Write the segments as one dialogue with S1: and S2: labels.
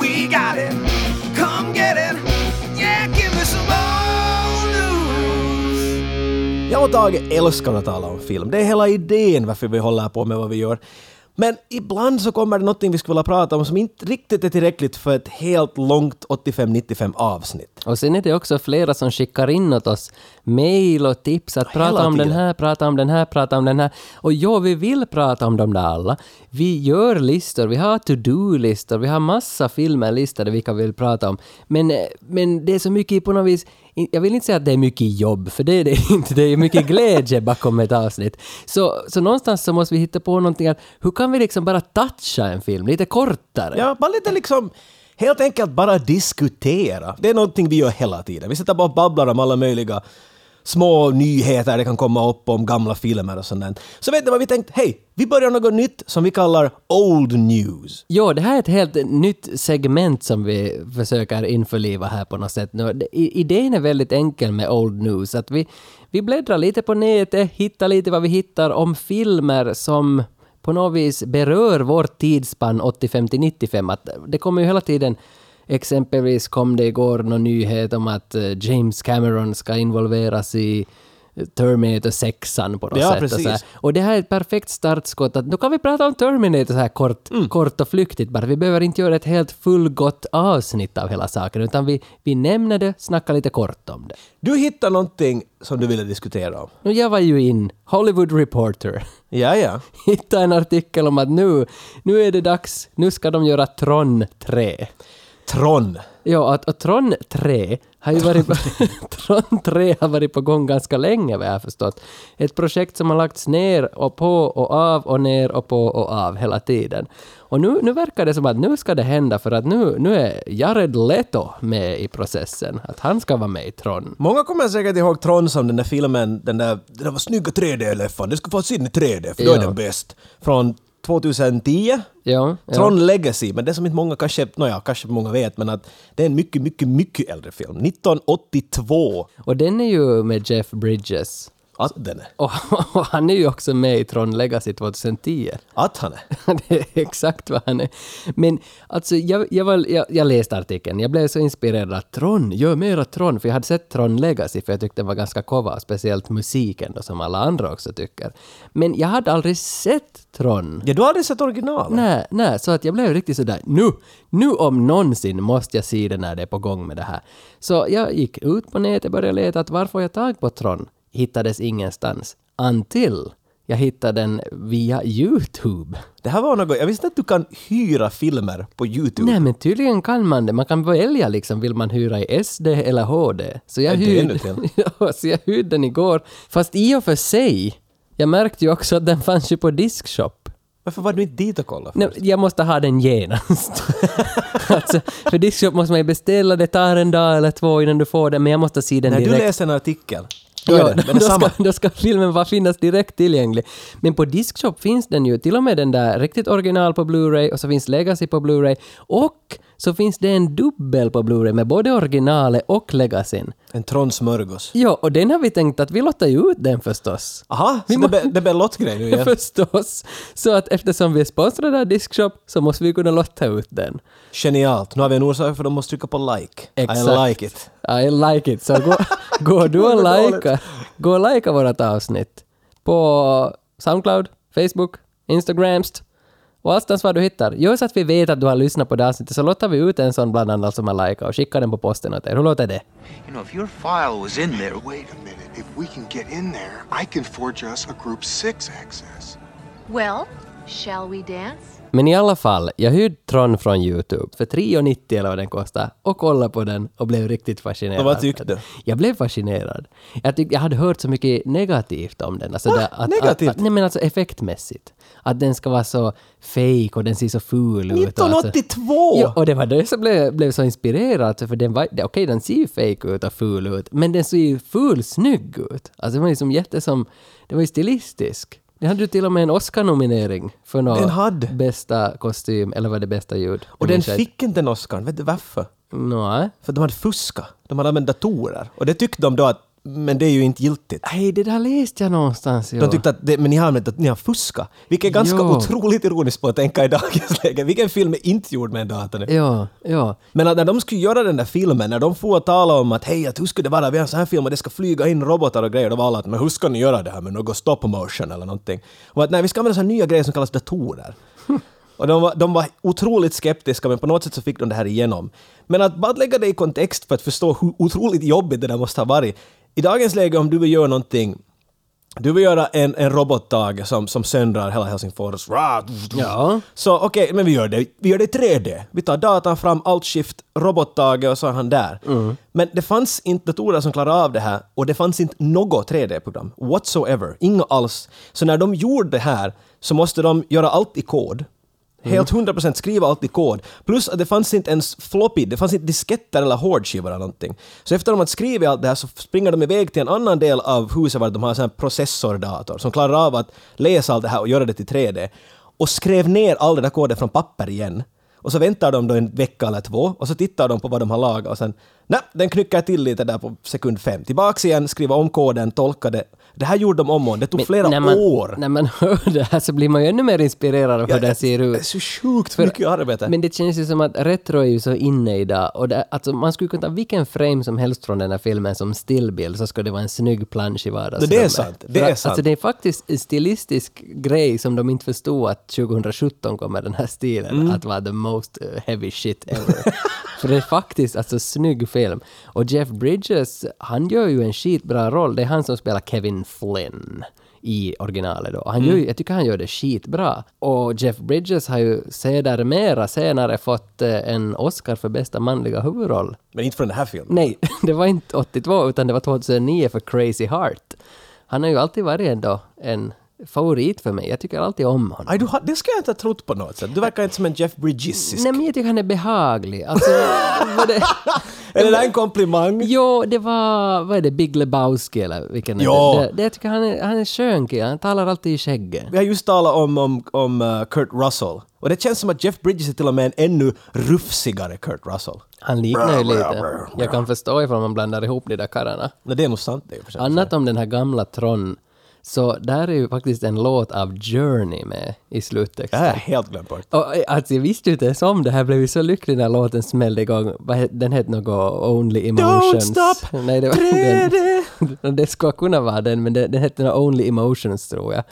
S1: We got it. Come get it. Yeah, give me some old news.
S2: Jag och Tage älskar att tala om film. Det är hela idén varför vi håller på med vad vi gör. Men ibland så kommer det någonting vi skulle vilja prata om som inte riktigt är tillräckligt för ett helt långt 85-95 avsnitt.
S3: Och sen är det också flera som skickar in åt oss mejl och tips att
S2: hela
S3: prata om den
S2: tiden.
S3: här, prata om den här, prata om den här. Och ja, vi vill prata om dem där alla. Vi gör listor, vi har to-do-listor, vi har massa filmer listade vilka vi vill prata om. Men, eh, men det är så mycket på något vis i- jag vill inte säga att det är mycket jobb, för det är det inte. Det är mycket glädje bakom ett avsnitt. Så, så någonstans så måste vi hitta på någonting att hur kan vi liksom bara toucha en film lite kortare?
S2: Ja, bara lite liksom... Helt enkelt bara diskutera. Det är någonting vi gör hela tiden. Vi sitter bara och babblar om alla möjliga små nyheter det kan komma upp om gamla filmer och sånt där. Så vet ni vad vi tänkt? Hej, vi börjar något nytt som vi kallar Old News.
S3: Ja, det här är ett helt nytt segment som vi försöker införliva här på något sätt. Nu, det- i- Idén är väldigt enkel med Old News, att vi, vi bläddrar lite på nätet, hittar lite vad vi hittar om filmer som på något vis berör vårt tidsspann 85 till 95. Att det kommer ju hela tiden Exempelvis kom det igår någon nyhet om att eh, James Cameron ska involveras i eh, Terminator 6 på något
S2: Ja,
S3: sätt. Och,
S2: precis.
S3: så här. och det här är ett perfekt startskott att nu kan vi prata om Terminator så här kort, kort och flyktigt bara. Vi behöver inte göra ett helt fullgott avsnitt av hela saken utan vi, vi nämner det, snackar lite kort om det.
S2: Du hittar någonting som du ville diskutera om.
S3: Nu jag var ju in Hollywood Reporter.
S2: Ja, ja.
S3: Hittade en artikel om att nu, nu är det dags, nu ska de göra Tron 3.
S2: Tron.
S3: Ja, att, att Tron 3 har ju varit på, Tron 3 har varit på gång ganska länge vad jag har förstått. Ett projekt som har lagts ner och på och av och ner och på och av hela tiden. Och nu, nu verkar det som att nu ska det hända för att nu, nu är Jared Leto med i processen. Att han ska vara med i Tron.
S2: Många kommer säkert ihåg Tron som den där filmen, den där, den där var snygga 3D-läffan, det ska få sin i 3D för då är
S3: Ja.
S2: den bäst. Från 2010.
S3: Ja, ja.
S2: Tron Legacy, men det som inte många kanske, nåja, kanske många vet, men att det är en mycket, mycket, mycket äldre film. 1982.
S3: Och den är ju med Jeff Bridges.
S2: Att den är.
S3: Och, och han är ju också med i Tron Legacy 2010.
S2: Att han är.
S3: det är exakt vad han är. Men alltså, jag, jag, var, jag, jag läste artikeln. Jag blev så inspirerad att Tron, gör mera Tron. För jag hade sett Tron Legacy, för jag tyckte den var ganska kova. Speciellt musiken då, som alla andra också tycker. Men jag hade aldrig sett Tron.
S2: Ja, du har aldrig sett originalet?
S3: Nej, nej, så att jag blev riktigt sådär, nu, nu om någonsin måste jag se det när det är på gång med det här. Så jag gick ut på nätet, började leta att varför jag tag på Tron? Hittades ingenstans. Until jag hittade den via YouTube.
S2: Det här var något, jag visste inte att du kan hyra filmer på YouTube.
S3: Nej men tydligen kan man det. Man kan välja liksom, vill man hyra i SD eller HD? Så jag,
S2: Ja, det ännu
S3: hyr...
S2: till.
S3: ja, så jag hyrde den igår. Fast i och för sig, jag märkte ju också att den fanns ju på Diskshop.
S2: Varför var du inte dit och kollade?
S3: Nej, jag måste ha den genast. alltså, för Diskshop måste man ju beställa, det tar en dag eller två innan du får den, men jag måste se den
S2: När du
S3: direkt.
S2: läser en artikel, då är den,
S3: då,
S2: men det
S3: då, ska,
S2: samma.
S3: då ska filmen bara finnas direkt tillgänglig. Men på Diskshop finns den ju, till och med den där riktigt original på Blu-ray och så finns Legacy på Blu-ray och så finns det en dubbel på Blu-ray med både originalet och Legacyn.
S2: En Tron smörgås.
S3: Ja, och den har vi tänkt att vi lottar ju ut den förstås.
S2: Aha, så det blir- det blir lottgrej nu igen.
S3: förstås. Så att eftersom vi är sponsrade av Diskshop så måste vi kunna lotta ut den.
S2: Genialt. Nu har vi en orsak för de måste trycka på like. I
S3: Exakt.
S2: like it.
S3: I like it. Så gå, gå du och
S2: Vad dåligt.
S3: likea gå och likea vårat avsnitt på Soundcloud, Facebook, Instagramst och allstans var du hittar. Gör så att vi vet att du har lyssnat på det avsnittet så lottar vi ut en sån bland annat som har likat och skickar den på posten åt er. Hur låter det?
S4: You know, if your file was in there,
S5: Wait a minute. If we can get in there, I can forge us a Group 6 access.
S6: Well, shall we dance?
S3: Men i alla fall, jag hyrde Tron från Youtube för 3,90 eller vad den kostar och kollade på den och blev riktigt fascinerad.
S2: Och vad tyckte du?
S3: Jag blev fascinerad. Jag, tyck, jag hade hört så mycket negativt om den. Alltså
S2: Va?
S3: det- att,
S2: Ah, Negativt?
S3: Att, att, nej men alltså effektmässigt. Att den ska vara så fake och den ser så ful ut. och alltså-
S2: 1982!
S3: Ja, och det var det som blev, blev så inspirerad, för den var, det- okej den ser ju fake ut och ful ut, men den ser ju ful snygg ut. Alltså den var ju som jätte som, den var ju stilistisk. Den hade ju till och med en Oscar-nominering för någon
S2: Den hade.
S3: bästa kostym, eller vad det bästa ljud.
S2: och
S3: Jag
S2: den
S3: minns inte.
S2: fick inte en Oscar, vet du varför?
S3: Nå,
S2: För de hade fuskat. De hade använt datorer. Och det tyckte de då att Men det är ju inte giltigt.
S3: Hej, det där läste jag någonstans. Jo.
S2: De tyckte att det, men ni har använt att ni har fuskat. Vilket är ganska
S3: Jo.
S2: otroligt ironiskt på att tänka i dagens läge. Vilken film är inte gjord med en dator nu?
S3: Ja, ja.
S2: Men att när de skulle göra den där filmen, när de får att tala om att hej, att hur skulle det vara, vi har en sån här film och det ska flyga in robotar och grejer, då var alla att men hur ska ni göra det här med något stop motion eller någonting? Och att nej, vi ska använda såna här nya grejer som kallas datorer. Och de var, de var otroligt skeptiska men på något sätt så fick de det här igenom. Men att bara lägga det i kontext för att förstå hur otroligt jobbigt det där måste ha varit. I dagens läge om du vill göra någonting du vill göra en, en robottag som, som söndrar hela Helsingfors. Ra,
S3: Ja.
S2: så okej, men vi gör, det. vi gör det i 3D. Vi tar datan fram, alt shift, robottaget och så är han där. Men det fanns inte datorer som klarade av det här och det fanns inte något 3D-program. Whatsoever. Inga alls. Så när de gjorde det här så måste de göra allt i kod. Mm. Helt 100% skriva allt i kod. Plus att det fanns inte ens floppy, det fanns inte disketter eller hårdskivor eller någonting. Så efter de har skrivit allt det här så springer de iväg till en annan del av huset var de har en sån här processordator som klarar av att läsa allt det här och göra det till 3D och skrev ner all den där koden från papper igen. Och så väntar de då en vecka eller två och så tittar de på vad de har lagat och sen nej, den knycker till lite där på sekund fem. Tillbaks igen, skriva om koden, tolka det. Det här gjorde de om och om. det tog flera
S3: när man,
S2: år.
S3: När man hör det här så blir man ju ännu mer inspirerad av hur det ser
S2: Det
S3: ut.
S2: är så sjukt
S3: För-
S2: mycket arbete.
S3: Men det känns ju som att retro är ju så inne idag. Och det, alltså, man skulle kunna ta vilken frame som helst från den här filmen som stillbild så skulle det vara en snygg plansch i vardagsrummet.
S2: Det är sant, det
S3: För
S2: är
S3: att-
S2: sant.
S3: Alltså, det är faktiskt en stilistisk grej som de inte förstod att 2017 kommer den här stilen
S2: Mm.
S3: att vara the most eh, heavy shit ever. För det är faktiskt alltså snygg film. Och Jeff Bridges, han gör ju en skitbra roll. Det är han som spelar Kevin Flynn i originalet då. Och Han gör,
S2: Mm.
S3: ju- Jag tycker han gör det skitbra. Och Jeff Bridges har ju sedermera senare fått eh, en Oscar för bästa manliga huvudroll.
S2: Men inte från den här filmen.
S3: Nej, det var inte 82 utan det var 2009 för Crazy Heart. Han har ju alltid varit ändå en favorit för mig. Jag tycker alltid om honom.
S2: Aj, du har, det ska jag inte ha trott på något sätt. Du verkar inte som en Jeff Bridges.
S3: Nej men jag tycker han är behaglig. Alltså, var det,
S2: Är det där en komplimang?
S3: jo, det var, vad är det, Big Lebowski eller vilken är
S2: Ja.
S3: det? det? Jag tycker han är, han är skön kille. han talar alltid i skägget.
S2: Vi har just talat om, om, om eh, Kurt Russell. Och det känns som att Jeff Bridges är till och med en ännu rufsigare Kurt Russell.
S3: Han liknar ju lite. Jag kan förstå ifall man blandar ihop de där karlarna.
S2: Nej, det är nog sant det är ju för sig.
S3: Annat om den här gamla Tron, så där är ju faktiskt en låt av Journey med i
S2: Det här har
S3: sluttexten.
S2: jag helt glömt bort.
S3: Och, eh, alltså jag visste ju inte ens om det här, blev ju så lycklig när låten smällde igång. Vad het- Den hette något Only Emotions.
S2: stop,
S3: Nej, det var den. Det skulle kunna vara den, men den, den hette nog Only Emotions tror jag.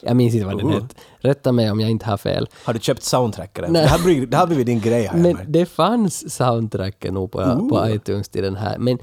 S3: Jag minns inte vad den hette. Rätta mig om jag inte har fel.
S2: Har du köpt soundtracken? än?
S3: Nej.
S2: Det här blir, det här blir din grej här.
S3: Men
S2: Men,
S3: det fanns soundtracken nog på, på iTunes till den här. Men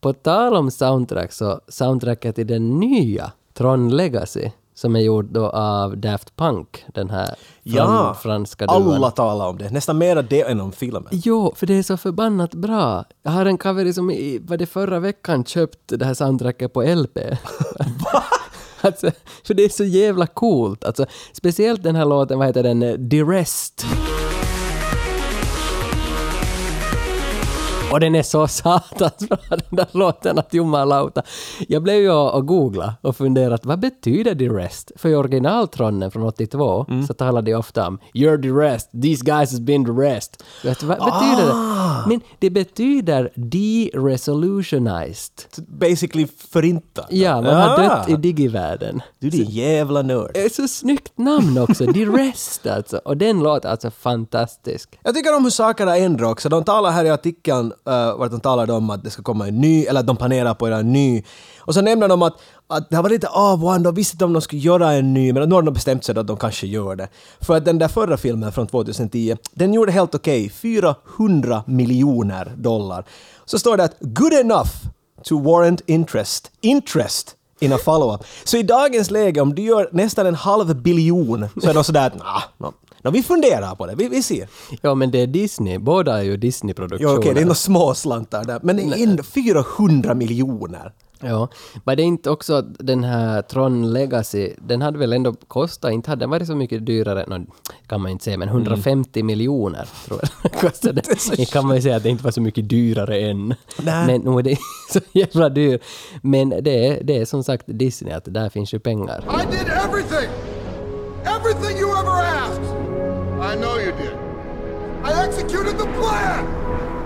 S3: på tal om soundtrack så soundtracket till den nya Tron Legacy som är gjord då av Daft Punk, den här fran, franska duon.
S2: alla talar om det. Nästan mer det än om filmen.
S3: Jo, för det är så förbannat bra. Jag har en cover som i, var det förra veckan köpt det här soundtracket på LP. alltså, för det är så jävla coolt. Alltså, speciellt den här låten, vad heter den? Eh, Direst. Och den är så satans bra den där låten att Jumalauta. Jag blev ju och och googla och funderat vad betyder the rest? För i originaltronnen från 82
S2: Mm.
S3: så talade jag ofta om “You're the rest, these guys has been the rest”. Vet du, vad betyder
S2: Ah!
S3: det? Men det betyder “de-resolutionized”.
S2: Basically förintat.
S3: Ja, man har
S2: Ah!
S3: dött i digivärlden.
S2: Du din jävla nörd.
S3: Det är så snyggt namn också, The Rest alltså. Och den låter alltså fantastisk.
S2: Jag tycker om hur saker har ändrats också. De talar här i artikeln, uh, vart de talade om att det ska komma en ny, eller att de planerar på att göra en ny. Och så nämner de att, att det har varit lite avvaktande, de visste inte om de skulle göra en ny, men nu har de bestämt sig att de kanske gör det. För att den där förra filmen från 2010, den gjorde helt okej, 400 miljoner dollar. Så står det att “good enough to warrant interest”. Interest! in a follow-up. Så i dagens läge, om du gör nästan en halv biljon, så är de sådär att nah, no, no, vi funderar på det, vi, vi ser.
S3: Ja, men det är Disney. Båda är ju
S2: Jo,
S3: Disney-produktioner.
S2: okej, det är några små slantar där. Men in 400 miljoner!
S3: Ja, men det är inte också att den här Tron Legacy, den hade väl ändå kostat, inte hade den varit så mycket dyrare, nå, kan man ju inte säga,
S2: Mm.
S3: men 150 miljoner tror jag den kostade. Det kan man ju säga att det inte var så mycket dyrare än.
S2: Nej.
S3: Men nog är det så jävla dyr. Men det är, det är som sagt Disney, att där finns ju pengar.
S7: I did everything! Everything you ever asked! I know you did. I executed the plan!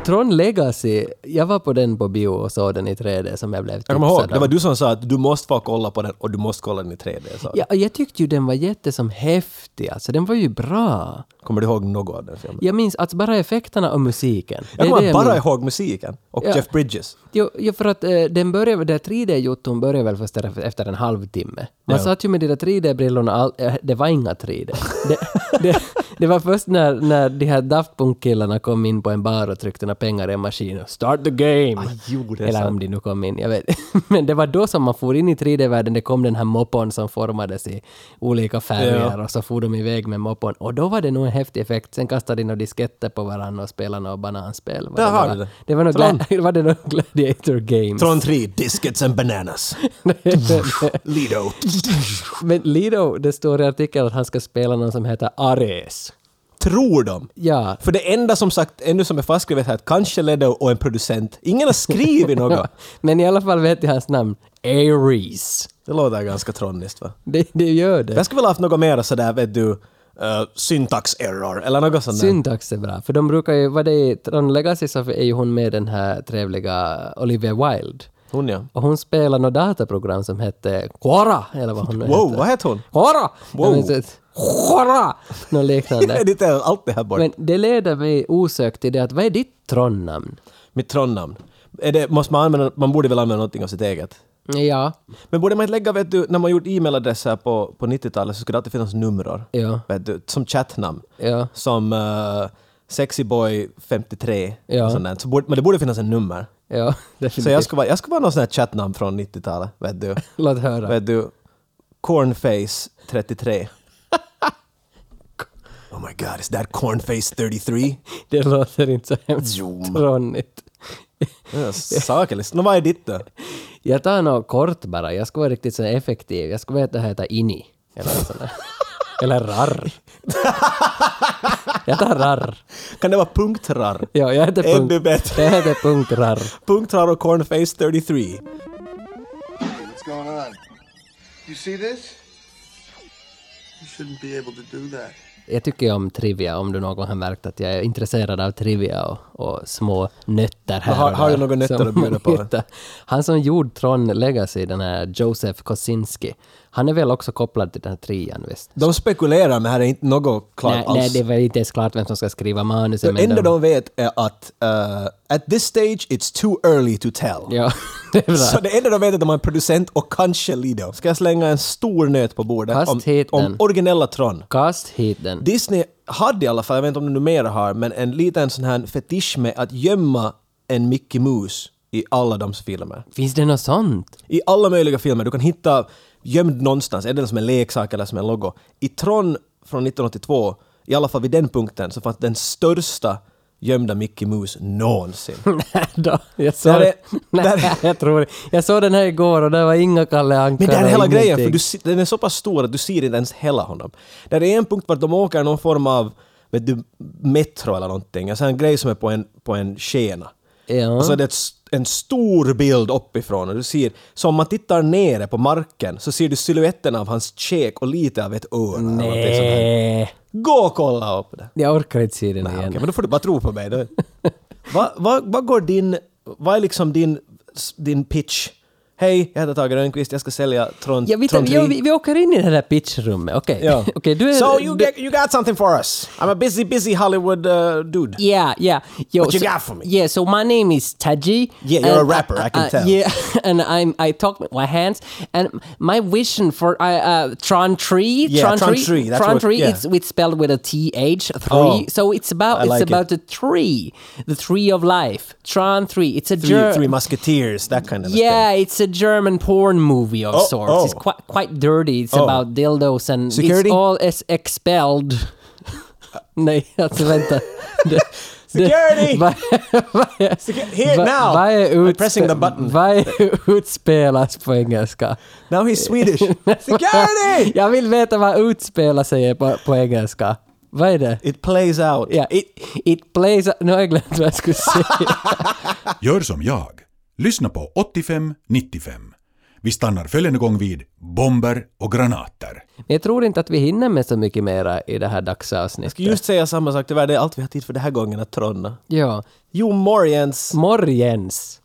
S3: Tron Legacy, jag var på den på bio och såg den i 3D som jag blev tipsad
S2: Jag kommer ihåg, det
S3: om.
S2: var du som sa att du måste få kolla på den och du måste kolla den i 3D. Så.
S3: Ja, jag tyckte ju den var jättesom häftig, alltså den var ju bra.
S2: Kommer du ihåg något av den filmen?
S3: Jag minns alltså bara effekterna och musiken. Det är
S2: Jag kommer
S3: det
S2: bara
S3: minns.
S2: ihåg musiken och
S3: Ja.
S2: Jeff Bridges.
S3: Jo, jo, för att eh, den började, det 3D-jotton började väl först efter- efter en halvtimme. Man
S2: Ja.
S3: satt ju med de där 3D-brillorna, all, eh, det var inga 3D. Det, det, det var först när, när de här Daft Punk-killarna kom in på en bar och tryckte några pengar i en maskin och “Start the game!”
S2: Ah, jo, det är
S3: Eller
S2: sant.
S3: om de nu kom in, jag vet Men det var då som man for in i 3D-världen, det kom den här moppon som formades i olika färger och så for de iväg med moppon. Och då var det nog en häftig effekt, sen kastade de några disketter på varandra och spelade några bananspel. Vad
S2: Där har
S3: var.
S2: du det.
S3: Det var nog
S2: Tron.
S3: gla- var det nog Gladiator Games.
S2: Tron 3, Discuits and Bananas. Lido.
S3: Men Lido, det står i artikeln att han ska spela någon som heter Ares.
S2: Tror de?
S3: Ja.
S2: För det enda som sagt ännu som är fastskrivet här, att kanske Ledo och en producent. Ingen har skrivit något.
S3: Men i alla fall vet jag hans namn. Ares.
S2: Det låter ganska tronniskt va?
S3: Det, det gör
S2: Jag
S3: det.
S2: skulle vilja haft något mer sådär vet du, eh, syntax error eller något sånt där.
S3: Syntax är bra, för de brukar ju, vad det är, i Tron Legacy så är ju hon med den här trevliga Olivia Wilde.
S2: Hon ja.
S3: Och hon spelar något dataprogram som hette Quora, eller vad hon nu
S2: Wow,
S3: hette.
S2: vad heter hon?
S3: Quora!
S2: Wow.
S3: Jag minns ett- Quora! Något liknande.
S2: Det är allt det här bort.
S3: Men det leder mig osökt till det att vad är ditt tronnamn?
S2: Mitt tronnamn. Är det, måste man använda, man borde väl använda någonting av sitt eget?
S3: Ja.
S2: Men borde man inte lägga, vet du, när man gjort e-mailadresser på, på 90-talet så skulle det alltid finnas nummer.
S3: Ja.
S2: Vet du, som chattnamn.
S3: Ja.
S2: Som eh, sexyboy53.
S3: Ja.
S2: och sånt där. Så borde, men det borde finnas en nummer.
S3: Ja, definitivt.
S2: Så jag skulle vara, jag skulle vara någon sån här chattnamn från 90-talet. Vet du.
S3: Låt höra.
S2: Vet du, Cornface33. oh my god, is that Cornface33?
S3: Det låter inte så hemskt
S2: Jo.
S3: tronnigt.
S2: Sakelist. Nå, vad är ditt då?
S3: Jag tar något kort bara. Jag ska vara riktigt så effektiv. Jag ska veta att heta Ini. Eller något sånt där. Eller Rarr. Jag tar Rarr.
S2: Kan det vara punktrarr?
S3: Ja, jag heter
S2: Ännu
S3: punkt...
S2: bättre.
S3: Jag heter punkt Rarr.
S2: Punktrarr och Cornface33.
S7: What's going on? You see this? You shouldn't be able to do that.
S3: Jag tycker ju om trivia, om du någon gång har märkt att jag är intresserad av trivia och, och små nötter här
S2: Men har-
S3: och
S2: har
S3: där
S2: du några nötter
S3: som
S2: att bjuda
S3: man
S2: på?
S3: hittar. Han som gjorde Tron Legacy, den här Joseph Kosinski, han är väl också kopplad till den här trian, visst?
S2: De spekulerar, men här är inte något klart
S3: Nej,
S2: alls.
S3: nej, det är väl inte ens klart vem som ska skriva manuset.
S2: det enda de vet är att eh, at this stage it's too early to tell.
S3: Ja, det är
S2: Så
S3: bra.
S2: det enda de vet är att de har en producent och kanske Lido. Ska jag slänga en stor nöt på bordet
S3: Kast
S2: om,
S3: hit
S2: om
S3: den.
S2: originella Tron?
S3: Kast hit den.
S2: Disney hade i alla fall, jag vet inte om de numera har, men en liten sån här fetisch med att gömma en Mickey Mouse i alla deras filmer.
S3: Finns det något sånt?
S2: I alla möjliga filmer, du kan hitta gömd någonstans, är det som en leksak eller som en logo. I Tron från 1982, i alla fall vid den punkten, så fanns den största gömda Mickey Mouse någonsin.
S3: Nej då, jag såg...
S2: Där är-
S3: nej,
S2: där-
S3: jag tror Jag såg den här igår och det var inga Kalle Anka.
S2: Men det är hela
S3: ingenting.
S2: grejen, för du, se- den är så pass stor att du ser inte ens hela honom. Där är en punkt vart de åker någon form av vet du, metro eller någonting, alltså en grej som är på en, på en skena.
S3: Ja.
S2: Och så är Alltså, det ett, s- en stor bild uppifrån och du ser, så om man tittar nere på marken så ser du siluetten av hans käk och lite av ett öra. eller någonting sånt här.
S3: Nej.
S2: Gå och kolla upp det!
S3: Jag orkar inte se den
S2: Ja,
S3: igen.
S2: Okej, men då får du bara tro på mig. Då- Vad va, vad går din... Vad är liksom din, din pitch? Hej, jag heter Tage Rönnqvist, jag ska sälja Tron,
S3: Ja, vi,
S2: Tron 3.
S3: ja, vi, vi åker in i det här pitchrummet, okej.
S2: Ja.
S3: Okej, du är...
S2: so you,
S3: du-
S2: get, you got something for us. I'm a busy, busy Hollywood uh, dude.
S3: Yeah, yeah. Yo,
S2: What you
S3: so-
S2: got for me?
S3: Yeah, so my name is Taji.
S2: Yeah, you're a
S3: and uh,
S2: rapper, I can tell.
S3: Yeah, and I'm I talk with my hands, and my vision for I uh, Tron Tree,
S2: Yeah, Tron Tree, that's
S3: Tron
S2: what-
S3: Tree.
S2: yeah.
S3: It's it's spelled with a T H three.
S2: Oh,
S3: so it's about
S2: I
S3: it's
S2: like it.
S3: about the tree, the tree of life. Tron Tree. It's a
S2: Three,
S3: ger-
S2: three Musketeers, that kind of
S3: yeah, it's a German porn movie of
S2: Oh,
S3: sorts. It's
S2: oh.
S3: quite quite dirty. It's
S2: Oh.
S3: about dildos and
S2: Security?
S3: it's all is expelled. Nej, alltså vänta. Det- det-
S2: Security!
S3: Vad- vad-
S2: thing. Here,
S3: vad-
S2: now!
S3: Vad är
S2: I'm
S3: utspe-
S2: pressing the button.
S3: Vad är utspelas på engelska?
S2: Now he's Swedish. Security!
S3: Jag vill veta vad utspela säger på, på engelska. Vad är det?
S2: It plays out.
S3: Ja, it, it plays... Nu har jag glömt vad jag skulle säga.
S8: Gör som jag. Lyssna på 85 95. Vi stannar följande gång vid bomber och granater.
S3: Men jag tror inte att vi hinner med så mycket mera i det här dagsavsnittet.
S2: Ska just säga samma sak, tyvärr det är allt vi har tid för den här gången att tronna.
S3: Ja.
S2: Jo, morgens!
S3: Morgens!